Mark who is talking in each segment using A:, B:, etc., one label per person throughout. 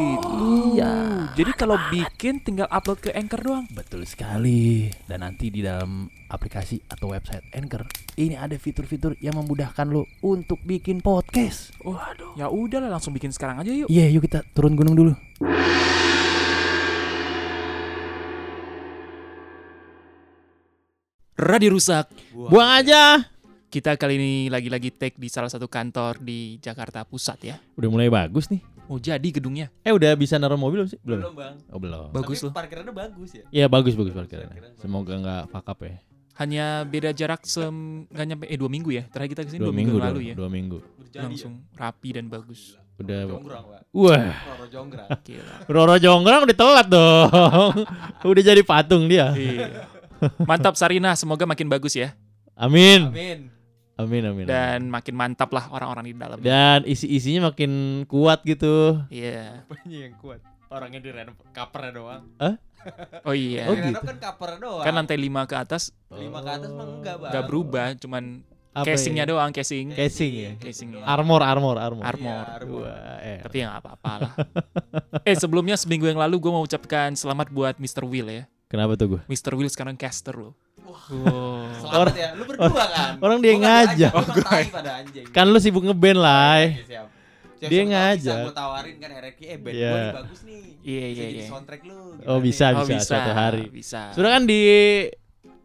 A: gitu.
B: Iya.
A: Jadi kalau bikin tinggal upload ke Anchor doang.
B: Betul sekali. Dan nanti di dalam aplikasi atau website Anchor, ini ada fitur-fitur yang memudahkan lo untuk bikin podcast.
A: Waduh. Ya udahlah langsung bikin sekarang aja yuk.
B: Iya, yuk kita turun gunung dulu.
C: Radio rusak.
D: Buang aja.
C: Kita kali ini lagi-lagi take di salah satu kantor di Jakarta Pusat ya.
D: Udah mulai bagus nih.
C: Mau jadi gedungnya.
D: Eh udah bisa naruh mobil belum sih? Belum.
E: bang
D: Oh belum.
C: Bagus loh.
E: parkirannya bagus ya
D: Ya bagus bagus parkirannya. Semoga nggak fuck up ya.
C: Hanya beda jarak sem nggak nyampe eh dua minggu ya. Terakhir kita kesini
D: Dua,
C: dua,
D: minggu
C: minggu, yang lalu
D: dong,
C: ya.
D: Dua minggu.
C: Langsung rapi dan bagus.
D: Udah.
E: pak
D: Wah,
F: Eh.
E: Roro jonggrang
C: Gila.
D: Roro Jonggrang udah telat dong. udah jadi patung dia.
C: Iya. Mantap Sarina, semoga makin bagus ya.
D: Amin.
E: amin
D: Amin amin. amin.
C: Dan makin mantap lah orang-orang di dalam.
D: Dan isi-isinya makin kuat gitu.
C: Iya.
E: apanya yang kuat orangnya di renov covernya doang
C: Oh iya.
D: Oh, gitu.
E: di renov kan covernya doang
C: Kan lantai 5 ke atas
E: lima ke atas mah enggak bang
C: nggak berubah, cuman
D: Apa
C: casingnya
D: ya?
C: doang, casing.
D: Casing ya.
C: Casingnya.
D: Armor armor armor.
C: Armor.
E: Iya, armor.
D: Wah, eh.
C: Tapi ya nggak apa-apa lah. eh sebelumnya seminggu yang lalu gue mau ucapkan selamat buat Mr. Will ya.
D: Kenapa tuh gue?
C: Mr. Will sekarang caster loh.
E: selamat ya lu berdua kan
D: orang dia
E: Gua nggak
D: ngajak.
E: diajak, gua emang tai pada anjing
D: Kan lu sibuk ngeband lah. eh.
E: Oke, siap. Siap,
D: Dia
E: siapa tahu
D: ngajak.
E: bisa gua tawarin kan RFQ eh band
D: Iya.
E: gua nih bagus nih
C: Iya
E: Bisa
C: iya
E: jadi
C: iya.
E: soundtrack lu gitu kan ya.
D: Oh
E: gimana
D: bisa
E: nih?
C: Oh,
D: bisa, suatu hari.
C: Bisa.
D: Sudah kan di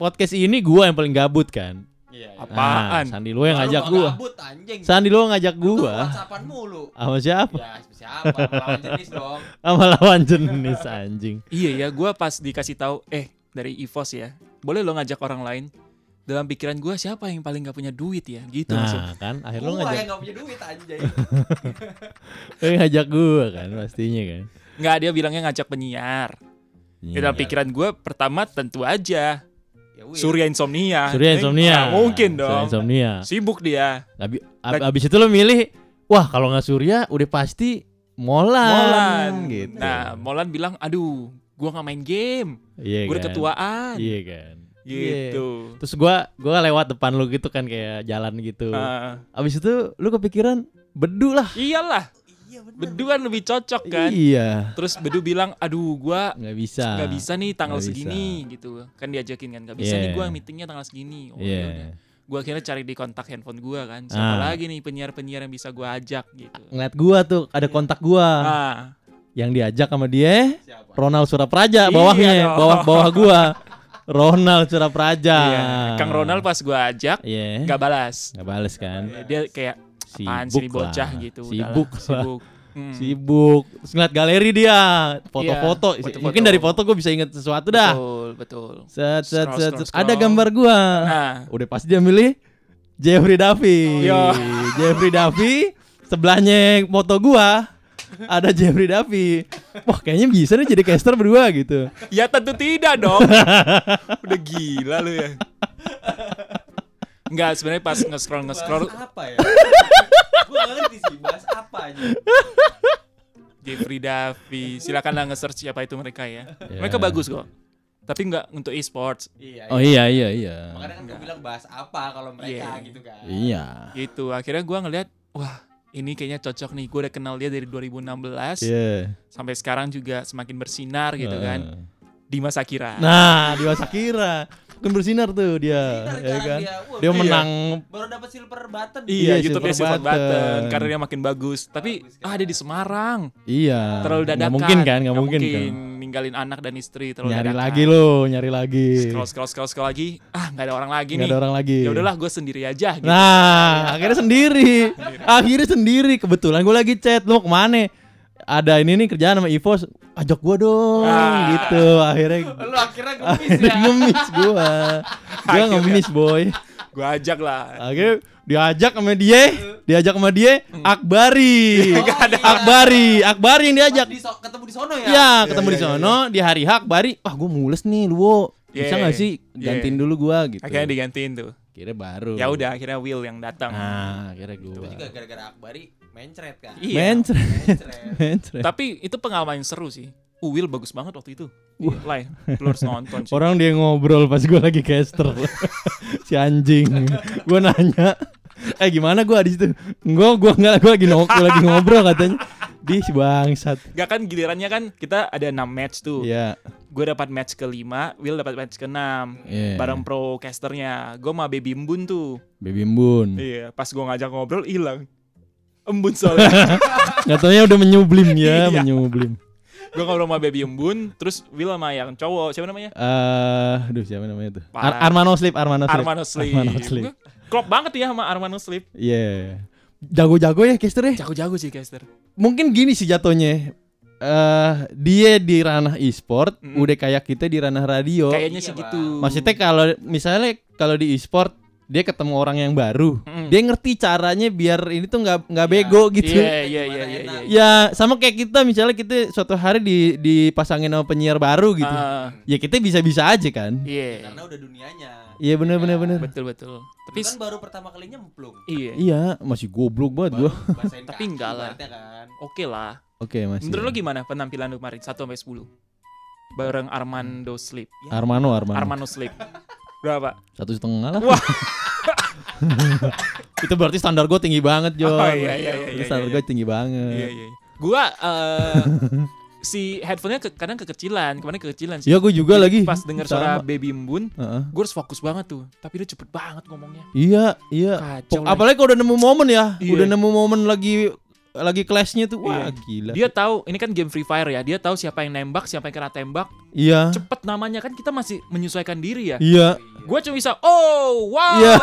D: podcast ini gua yang paling gabut kan. Nah,
E: iya iya.
C: Apa? Apaan?
D: Sandi lo yang
E: Lu
D: ngajak
E: mah
D: gua.
E: gabut, anjing
D: Sandi lo ngajak
E: Lu tuh
D: gua.
E: whatsappan mulu
D: Sama siapa?
E: ya siapa lawan jenis dong
D: Sama lawan jenis anjing.
C: Iya ya, gue pas dikasih tahu eh dari Evos ya, boleh lo ngajak orang lain. Dalam pikiran gue siapa yang paling gak punya duit ya, gitu maksudnya.
D: Nah kan akhirnya lo
E: Gua yang
D: ngajak,
E: nggak punya duit anjing
D: lo yang ngajak gua kan pastinya kan.
C: Nggak dia bilangnya ngajak penyiar. Ya,
D: Iya,
C: dalam pikiran gue pertama tentu aja
E: Ya, Will.
C: Surya Insomnia. Eh,
D: Surya insomnia.
C: nggak mungkin
D: Surya
C: dong.
D: insomnia.
C: Sibuk dia.
D: Abi, ab- abis itu lo milih, wah kalau nggak Surya udah pasti Molan,
C: Molan.
D: gitu.
C: Nah, Molan bilang, aduh, gue nggak main game.
D: iya
C: Gue udah
D: kan?
C: ketuaan.
D: Iya kan.
C: Gitu.
D: Terus gua gua lewat depan lu gitu kan kayak jalan gitu.
C: Ah,
D: Abis itu lu kepikiran bedu lah.
C: iyalah,
E: Iya bener.
C: bedu kan lebih cocok kan.
D: Iya.
C: Terus bedu bilang, aduh gua
D: Nggak bisa.
C: nggak bisa nih tanggal
D: nggak bisa.
C: segini gitu. Kan diajakin kan, nggak bisa nih
D: Yeah.
C: gua meetingnya tanggal segini. Oh,
D: Iya.
C: yaudah. Gua akhirnya cari di kontak handphone gua kan. Siapa
D: Ah.
C: lagi nih penyiar-penyiar yang bisa gua ajak gitu.
D: Ngeliat gua tuh ada kontak gua
C: Iya. Ah,
D: yang diajak sama dia
E: Siapa?
D: Ronald
C: Iya
D: Surapraja bawahnya
C: dong.
D: bawah bawah gua Ronald Surapraja.
C: iya. Kang Ronald pas gua ajak,
D: Iya.
C: nggak Iya. balas.
D: Nggak bales kan.
C: Dia kayak apaan sih
D: Sibuk
C: nih bocah
D: lah.
C: gitu. udahlah,
D: Sibuk. lah.
C: sibuk. Hmm.
D: Sibuk. Terus ngeliat galeri dia, foto-foto.
C: Iya,
D: Mungkin
C: foto-foto.
D: dari foto gua bisa inget sesuatu dah.
C: Betul, betul.
D: Set, set,
C: Scroll,
D: set,
C: scroll,
D: set. Ada
C: scroll.
D: gambar gua.
C: Nah,
D: Udah pasti dia milih Jeffrey Duffy.
C: Yo.
D: Jeffrey Duffy sebelahnya foto gua ada Jeffrey Duffy. Wah, kayaknya bisa deh jadi caster berdua gitu.
C: ya tentu tidak dong. Udah gila lu ya. Enggak, sebenarnya pas nge-scroll
E: Bahas
C: nge-scroll
E: apa ya? Gue ngerti sih bahas apa aja.
C: Jeffrey Davi, silakanlah nge-search siapa itu mereka ya.
D: Ya.
C: Mereka bagus kok. Tapi enggak untuk e-sports
E: Iya.
D: Oh iya iya iya.
E: Makanya kan gue bilang bahas apa kalau mereka
C: Iya.
E: gitu kan.
D: Iya.
C: gitu. Akhirnya gua ngelihat, wah, ini kayaknya cocok nih. Gue udah kenal dia dari 2016
D: Iya.
C: sampai sekarang juga semakin bersinar gitu kan. Dimas Akira.
D: Nah, Dewa Sakira kan bersinar tuh dia,
E: Ntar
D: ya
E: sekarang
D: kan?
E: dia, wah,
D: Dia
C: Iya.
D: menang
E: baru dapat silver button.
C: Iya,
D: Iya,
C: YouTube-nya
D: Silver
C: Silver Button
D: Button.
C: karena dia makin bagus. Tapi
E: Bagus kan.
C: ah dia di Semarang.
D: iya.
C: terlalu
D: Nggak
C: dadakan.
D: mungkin kan, nggak mungkin, kan.
C: ninggalin anak dan istri terlalu
D: Nyari
C: dadakan.
D: lagi lo, nyari lagi.
C: Scroll scroll scroll scroll lagi. Ah, nggak ada orang lagi
D: Iya, Nggak
C: nih.
D: ada orang lagi.
C: Ya udahlah, gue sendiri aja gitu.
D: Nah, akhirnya sendiri. akhirnya sendiri. Kebetulan gue lagi chat, lu mau kemana? Ada ini nih kerjaan sama Ivos, ajak gua dong
C: Ah.
D: gitu. Akhirnya
E: Lu ya? akhirnya gue
D: akhirnya ngemis gua. Gua ngemis boy.
C: Gue ajak lah.
D: Ah, Akhirnya diajak sama dia, diajak sama dia Akbari. Akbari, Akbari yang diajak.
E: Di so- ketemu di sono ya?
D: Iya, ketemu di sono di hari hak Bari. Wah, gue mules nih, Luo. Bisa
C: Yeah.
D: nggak sih
C: iya,
D: gantiin dulu gua gitu.
C: Akhirnya digantiin tuh.
D: Kira baru.
C: Ya udah akhirnya Will yang datang.
D: Nah, kira
E: Itu
D: gua.
E: juga gara-gara Akbari mencret kan.
C: Iya.
D: Mencret,
E: Mencret.
D: mencret.
C: Tapi itu pengalaman yang seru sih. Uh, Will bagus banget waktu itu.
D: Uh.
C: Live, lu harus nonton. sih.
D: Orang dia ngobrol pas gua lagi caster. si anjing. Gua nanya, "Eh gimana gua di situ?" Enggak, gua enggak, gua lagi ngobrol, lagi ngobrol katanya. Di si bangsat.
C: Gak kan gilirannya kan kita ada 6 match tuh.
D: Iya.
C: Gue dapat match kelima, Will dapat match keenam.
D: Iya.
C: Bareng procasternya. Gue sama Baby Embun tuh.
D: Baby Mbun.
C: Iya, pas gue ngajak ngobrol hilang. Embun soalnya.
D: Enggak taunya udah menyublim ya,
C: Iya.
D: menyublim.
C: gue ngobrol sama Baby Embun, terus Will sama yang cowok, siapa namanya?
D: Eh, aduh siapa namanya tuh? Ar-
C: Parah.
D: Armano Sleep, Armano Sleep.
C: Armano Sleep.
D: Armano Sleep.
C: Gua Klop banget ya sama Armano Sleep.
D: Iya. Jago-jago ya caster ya.
C: Jago-jago sih caster.
D: Mungkin gini sih jatuhnya. Eh, dia di ranah e-sport,
C: Mm.
D: udah kayak kita di ranah radio.
C: Kayaknya
E: iya,
C: sih
E: Bang.
C: gitu.
D: Oh, Maksudnya kalau misalnya kalau di e-sport dia ketemu orang yang baru,
C: Mm.
D: dia ngerti caranya biar ini tuh nggak nggak
E: Iya.
D: bego gitu.
C: Iya, iya, iya,
E: Gimana
C: iya,
E: enak.
C: iya.
D: Ya sama kayak kita misalnya kita suatu hari di dipasangin sama penyiar baru gitu.
C: Ah,
D: Ya kita bisa-bisa aja kan.
C: Iya.
E: Karena udah dunianya.
D: Iya bener bener bener.
C: Betul betul. Tapi
E: Lu kan baru pertama kali nyemplung.
C: iya.
D: Iya masih goblok banget
E: Baru
D: gua.
E: basahin
C: Tapi
E: kaki
C: enggak lah.
E: ibaratnya Kan.
C: Oke lah.
D: Oke masih.
C: Menurut lo gimana penampilan lo kemarin 1 sampai 10? Bareng
D: Hmm.
C: Armando Sleep.
D: Armano Armano.
C: Armando Sleep. Berapa?
D: Satu setengah lah.
C: Wah.
D: Itu berarti standar gua tinggi banget Jon.
C: Oh, iya, iya, iya,
D: Itu
C: iya,
D: standar
C: iya.
D: gua tinggi banget.
C: Iya iya. Gua eh, si headphone-nya ke- kadang kekecilan, kemarin kekecilan sih.
D: Ya gua juga
C: Jadi
D: lagi.
C: Pas denger suara
D: Sama.
C: Baby Mbun,
D: Heeh.
C: gue harus fokus banget tuh. Tapi dia cepet banget ngomongnya.
D: Iya, iya.
C: Kacau.
D: Pok-
C: lah.
D: Apalagi kalau udah nemu momen ya,
C: Iya.
D: udah nemu momen lagi lagi clashnya tuh, wah
C: Iya.
D: gila.
C: Dia tahu ini kan game Free Fire ya. Dia tahu siapa yang nembak, siapa yang kena tembak.
D: Iya,
C: Cepet namanya kan kita masih menyesuaikan diri ya.
D: iya.
C: Gue cuma bisa oh wow
D: Iya,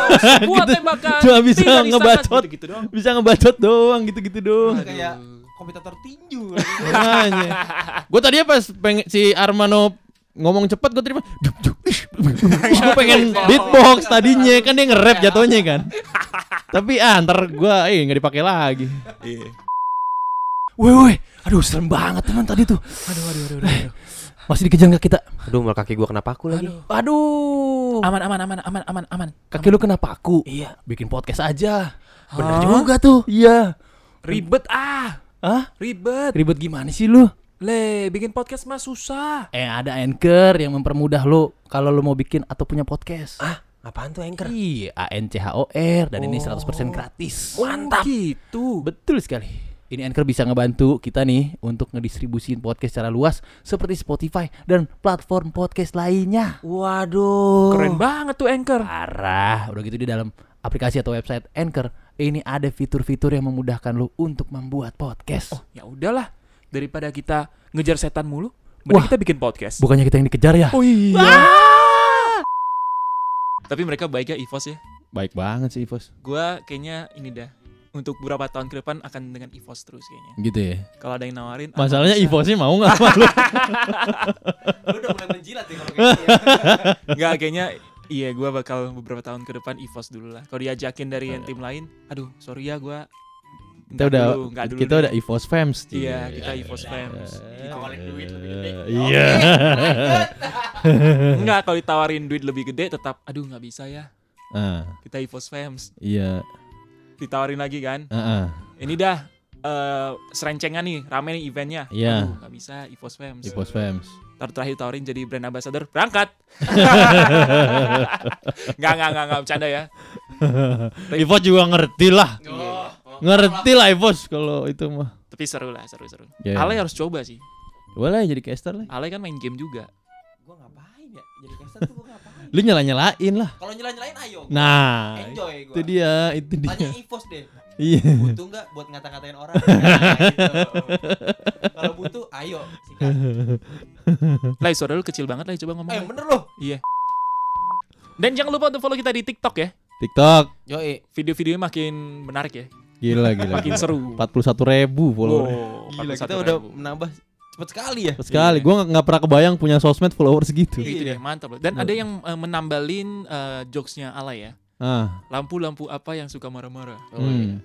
C: sebuah
D: gitu.
C: tembakan
D: Cuma bisa ngebacot.
C: gitu, gitu doang.
D: Bisa ngebacot doang, gitu-gitu doang.
E: Lu Kayak kompetitor tinju.
D: Makanya. gue tadi pas pengen si Armano ngomong cepat gue terima gue pengen
C: Iya.
D: beatbox tadinya kan dia nge-rap jatuhnya kan tapi ah ntar gue eh nggak dipakai lagi
B: Woi woi, aduh serem banget teman tadi tuh. Eh,
C: Aduh aduh aduh aduh. aduh.
B: Masih dikejar nggak kita?
F: Aduh, malah kaki gua kenapa aku lagi?
B: Aduh,
A: Aman aman aman aman aman aman.
B: kaki lu kenapa aku?
A: Iya.
B: Bikin podcast aja. Bener
A: Hah?
B: juga tuh. Iya.
A: Ribet ah.
B: Hah?
A: Ribet.
B: Ribet gimana sih lu?
A: Le, bikin podcast mah susah.
B: Eh ada anchor yang mempermudah lu kalau lu mau bikin atau punya podcast.
F: Ah, apaan tuh anchor?
B: Iya, A N C H O R dan ini 100% gratis.
A: Mantap. gitu.
B: Betul sekali. Ini Anchor bisa ngebantu kita nih untuk ngedistribusin podcast secara luas seperti Spotify dan platform podcast lainnya.
D: Oh.
F: Waduh.
A: Keren banget tuh Anchor.
B: Parah, udah gitu di dalam aplikasi atau website Anchor ini ada fitur-fitur yang memudahkan lu untuk membuat podcast.
A: Ya udahlah, daripada kita ngejar setan mulu, mending
B: Wah.
A: kita bikin podcast.
B: Bukannya kita yang dikejar ya?
A: Oh iya.
C: Tapi mereka baiknya Evos ya.
D: baik banget sih Ivos
C: Gue kayaknya ini dah untuk beberapa tahun ke depan akan dengan Evos terus kayaknya.
D: gitu ya
C: Kalau ada yang nawarin. ah,
D: masalahnya
C: bisa.
D: Ivosnya mau nggak sama lu
E: Lu udah mulai menjilat ya kalau kayak gitu.
C: Nggak kayaknya iya gue bakal beberapa tahun ke depan Evos dulu lah. Kalau diajakin dari yang tim lain, aduh sorry ya gue.
D: kita udah kita udah
C: deh.
D: Ivos fans Ci. Eh,
C: Iya, kita Ivos fans.
E: Awalin duit lebih gede.
D: Iya.
C: Enggak kalau ditawarin duit lebih gede tetap aduh nggak bisa ya.
D: Ah,
C: Kita Evos fans.
D: iya.
C: Ditawarin lagi kan.
D: Ah, ah.
C: Ini dah eh serencengan nih, rame nih eventnya.
D: Iya.
C: Aduh, nggak bisa Evos Fams.
D: Ivos fans.
C: Ntar terakhir tawarin jadi brand ambassador, berangkat. Nggak, nggak, nggak, nggak bercanda ya.
D: Ivos juga ngerti lah.
E: Oh,
D: Ngerti lah Ivos kalau itu mah.
C: Tapi seru lah, seru, seru.
D: Iya.
C: Ale
E: ya?
C: harus coba sih.
D: Boleh jadi caster lah.
C: Ale kan main game juga.
E: Gua ngapain ya? Jadi caster tuh gua ngapain?
D: Lu nyala-nyalain lah.
E: Kalau nyela-nyelain ayo.
D: Nah,
E: enjoy gua.
D: itu dia, itu
E: Tanya
D: dia.
E: Ivos deh.
D: Iya.
E: Butuh nggak buat ngata-ngatain orang? Nah, gitu. Kalau butuh, ayo. Sikat.
C: Lai, suara lu kecil banget, Lai. Coba ngomong.
E: Eh,
C: Lai.
E: bener loh.
C: Iya. Dan jangan lupa untuk follow kita di TikTok ya.
D: TikTok.
E: Yoi.
C: Video-videonya makin menarik ya.
D: Gila gila.
C: Makin seru.
D: 41 ribu follower.
C: Wow,
E: Gila,
C: 41
E: kita udah
C: ribu.
E: menambah cepet sekali ya.
D: Sekali,
C: Iya.
D: gua nggak- nggak pernah kebayang punya sosmed followers gitu.
C: Itu
E: Iya.
C: deh, mantap loh. Dan ada yang eh, menambalin eh, jokes-nya Ale ya.
D: Ah,
C: Lampu-lampu apa yang suka marah-marah?
E: Oh, iya.
D: hmm,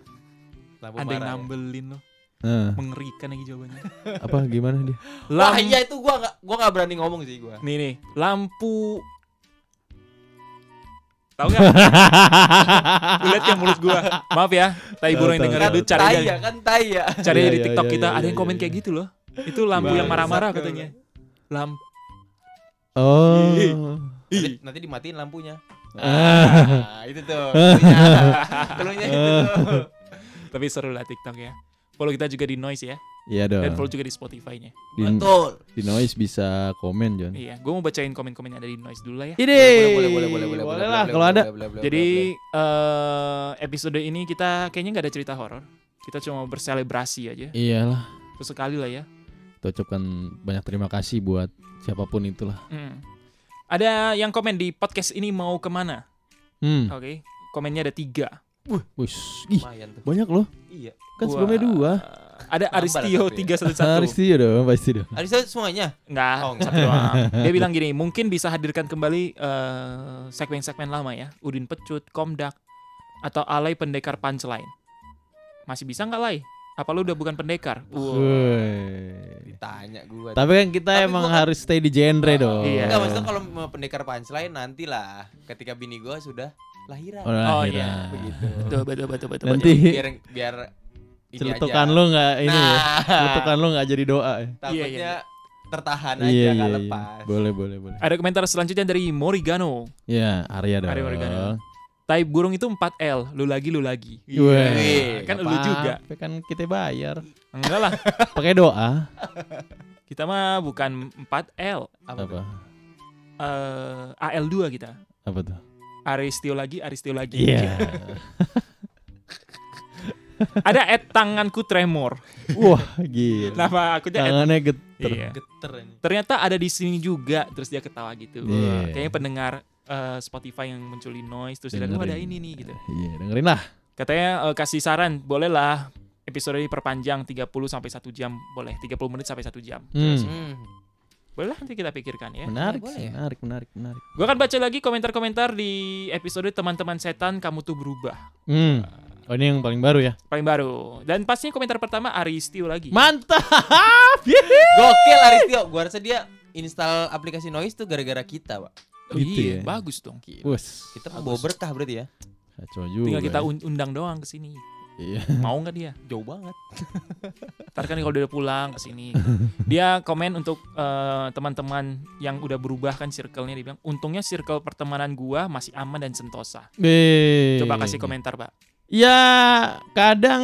E: Lampu
C: Ada yang
E: marah ya.
C: nambelin loh.
D: ah.
C: Mengerikan lagi jawabannya.
D: apa gimana dia?
C: Lam-
E: Wah iya itu gua gak, gua gak berani ngomong sih gua
C: Nih nih, lampu Tahu enggak? Lihat ya mulut gua. Maaf ya, tai
D: Tahu,
C: burung yang
D: tahu,
C: dengerin
D: tahu.
C: lu cari
E: Tai
C: aja-
E: ya kan tai ya
C: cari aja
D: Iya,
C: di
D: iya,
C: TikTok
D: iya,
C: kita
D: iya,
C: ada yang
D: iya,
C: komen
D: iya.
C: kayak gitu loh. Itu lampu yang marah-marah katanya. Lampu
D: Oh.
E: nanti, nanti dimatiin lampunya
D: Ah.
E: Nah, itu tuh Cluenya- cluenya itu tuh
C: tapi seru lah TikTok ya. Follow kita juga di Noise ya
D: Iya
C: dan follow
D: dong.
C: juga di Spotify-nya.
D: Di,
E: Betul
D: di noise bisa komen John.
C: Iya, gue mau bacain komen-komen yang ada di Noise dulu lah ya.
D: Ide.
E: Boleh, boleh, boleh, boleh, boleh,
D: lah
E: boleh,
D: kalau
E: boleh,
D: ada.
E: boleh, boleh,
C: Jadi
D: Iya,
C: eh, episode ini kita kayaknya nggak ada cerita horor. Kita cuma berselebrasi aja.
D: Iya. Iyalah.
C: Sesekali lah ya.
D: Kita ucapkan banyak terima kasih buat siapapun itulah.
C: Mm. Ada yang komen di podcast ini mau kemana?
D: Hmm.
C: Oke, komennya ada tiga.
D: Wis.
E: boleh.
D: Ih,
E: lumayan tuh
D: banyak loh.
E: iya
D: Kan
C: Wah,
D: sebelumnya dua.
C: eh, Ada
E: Nambah
C: Aristio
E: tapi ya.
C: tiga satu
D: Harus
C: satu.
D: dia dong, pasti dong.
E: ada saya semuanya
C: Nggak,
E: Oh, nggak.
C: satu doang. Dia bilang gini, mungkin bisa hadirkan kembali eh, segmen-segmen lama ya. Udin Pecut, Komdak, atau Alay Pendekar Punchline. Masih bisa nggak, Lai? Apa lu udah bukan pendekar? Wow.
D: Woi.
E: ditanya
D: Iya.
E: gua
D: Tapi ya. kan kita
E: Tapi
D: emang
E: gua kan-
D: harus stay di genre dong.
C: Iya.
E: Enggak maksudnya kalau mau pendekar punchline nantilah ketika bini gua sudah lahiran.
D: Orang
C: Oh,
D: akhiran.
C: iya.
E: Begitu.
C: Betul, betul, betul, betul.
D: nah, Nanti
E: biar biar ini
D: celutukan
E: aja.
D: lu nggak ini ya.
E: Nah,
D: Celutukan lu nggak jadi doa ya.
E: takutnya
C: Iya,
E: tertahan aja
D: Iya, iya,
E: nggak
D: iya.
E: lepas.
D: Boleh, boleh, boleh.
C: Ada komentar selanjutnya dari Morigano.
D: Ya, Arya dong. Iya.
C: Arya Morgana. Tai burung itu 4L, lu lagi lu lagi.
D: Weh,
C: Iya, kan
D: Eh, nggak
C: lu juga.
D: apa-apa, Kan kita bayar.
C: Enggak lah,
D: Pakai doa.
C: kita mah bukan 4L,
E: Apa tuh?
D: Apa?
C: eh AL2 kita.
D: Apa tuh?
C: Aristio lagi, Aristio lagi.
D: Iya.
C: Ada et tanganku tremor.
D: Wah, gila.
C: Nama akunya Ed.
D: Tangannya geter.
C: Iya.
E: Geter ini.
C: Ternyata ada di sini juga, terus dia ketawa gitu.
D: Iya.
C: Kayaknya pendengar eh, Spotify yang munculin noise terus dia bilang, "Oh, ada
D: Dengerin.
C: ini nih gitu.
D: Iya, dengerin lah.
C: Katanya eh, kasih saran, bolehlah episode diperpanjang 30 sampai 1 jam, boleh 30 menit sampai 1 jam.
D: Hmm.
E: Hmm.
C: Boleh lah, nanti kita pikirkan ya.
D: Menarik,
E: boleh
D: sih,
E: ya.
D: menarik, menarik, menarik.
C: Gue akan baca lagi komentar-komentar di episode teman-teman setan kamu tuh berubah
D: Hmm. Oh, ini yang paling baru ya.
C: paling baru dan pastinya komentar pertama Aristio lagi.
D: Mantap. Yeay.
E: Gokil Aristio, gua rasa dia install aplikasi noise tuh gara-gara kita, Pak.
C: Oh,
D: Gitu
C: iya,
D: ya.
C: bagus dong.
D: Wes.
E: Kita bawa berkah berarti ya.
D: Kacau juga.
C: Tinggal kita
D: ya.
C: un- undang doang ke sini.
D: Iya.
C: Mau nggak dia?
E: Jauh banget.
C: Ntar kan kalau dia udah pulang ke sini. Dia komen untuk eh, teman-teman yang udah berubah kan circle-nya dia bilang, "Untungnya circle pertemanan gua masih aman dan sentosa."
D: Weh.
C: Coba kasih komentar, Pak.
D: Ya, kadang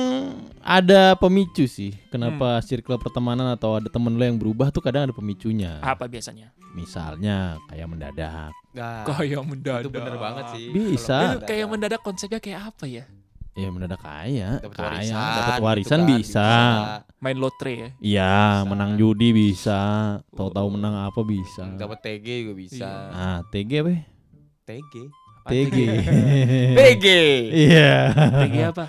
D: ada pemicu sih. Kenapa circle pertemanan atau ada temen lo yang berubah tuh kadang ada pemicunya.
C: Apa biasanya?
D: Nah. Misalnya kayak mendadak.
E: Nah,
C: Kayak mendadak.
E: itu bener banget sih.
D: Bisa.
E: Kalau
C: Itu kayak mendadak konsepnya kayak apa ya?
D: Ya mendadak kaya,
E: Dapat
D: kaya,
E: warisan,
D: dapat
E: gitu
D: warisan
E: kan,
D: bisa.
C: Main lotre ya.
D: Iya,
E: Bisa.
D: menang judi bisa, tahu-tahu menang apa bisa.
E: Hmm, Dapat TG juga bisa.
D: Ah, TG apa? ya?
E: TG.
D: TG.
E: TG.
D: Iya.
C: Lagi apa?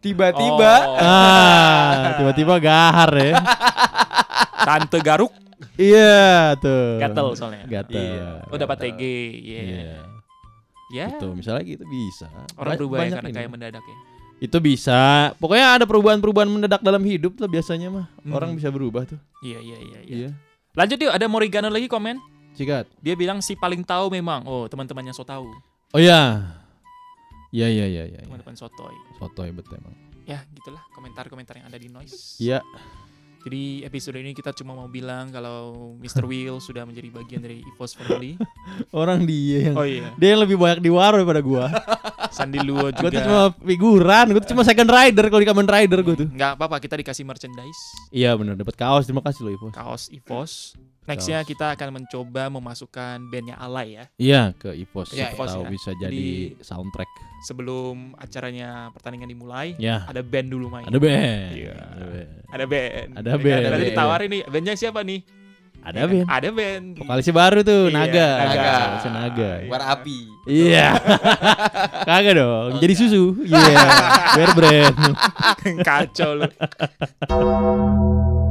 E: Tiba-tiba
C: Oh,
D: Ah, tiba-tiba gahar ya.
C: tante garuk
D: Iya, tuh.
C: gatel soalnya.
D: Gatel.
E: Iya.
C: Oh dapat TG, iya.
D: Iya.
C: Ya,
D: Itu misalnya gitu bisa.
C: orang
D: Ba-
C: berubah ya
D: banyak
C: karena
D: ini.
C: kayak mendadak ya.
D: Itu bisa. Pokoknya ada perubahan-perubahan mendadak dalam hidup tuh biasanya mah.
C: Hmm.
D: Orang bisa berubah tuh.
C: Iya, iya, iya, iya.
D: Iya.
C: Lanjut yuk, ada Morigano lagi komen.
D: Cikat.
C: Dia bilang si paling tahu memang. Oh, teman-temannya so tahu,
D: Oh iya. Iya iya iya iya. iya.
C: teman-teman sotoy.
D: Soto hebat emang.
C: Ya, gitulah komentar-komentar yang ada di noise.
D: Iya.
C: Jadi episode ini kita cuma mau bilang kalau Mr. Will sudah menjadi bagian dari EVOS Family.
D: Orang dia yang
C: Oh iya,
D: dia yang lebih banyak di war daripada gua.
C: Sandi Luo
D: gua tuh
C: juga.
D: cuma figuran, gua tuh cuma second rider kalau di Kamen Rider gua tuh.
C: Nggak apa-apa, kita dikasih merchandise.
D: Iya benar dapat kaos, terima kasih loh Ivo.
C: Kaos EVOS. Nextnya kita akan mencoba memasukkan bandnya Alay ya.
D: Iya ke Ipos
C: Iya,
D: siapa
C: Ipos,
D: tahu
C: ya.
D: bisa jadi
C: Di-
D: soundtrack.
C: Sebelum acaranya pertandingan dimulai,
D: Ya,
C: ada band dulu main.
D: ada band.
C: Iya.
D: Ada band.
C: Ada band.
D: Ada
C: Ya kan?
D: band.
C: Berarti
E: Iya.
C: ditawarin nih, bandnya siapa nih?
D: Ada
C: Ya kan?
D: band.
C: Ada band.
D: Vokalisnya baru tuh
C: Iya,
D: Naga.
C: Naga.
D: Vokalisnya Naga.
E: war api.
D: Iya. Kagak dong. Jadi susu. Iya. Bear brand.
C: Kacau lu.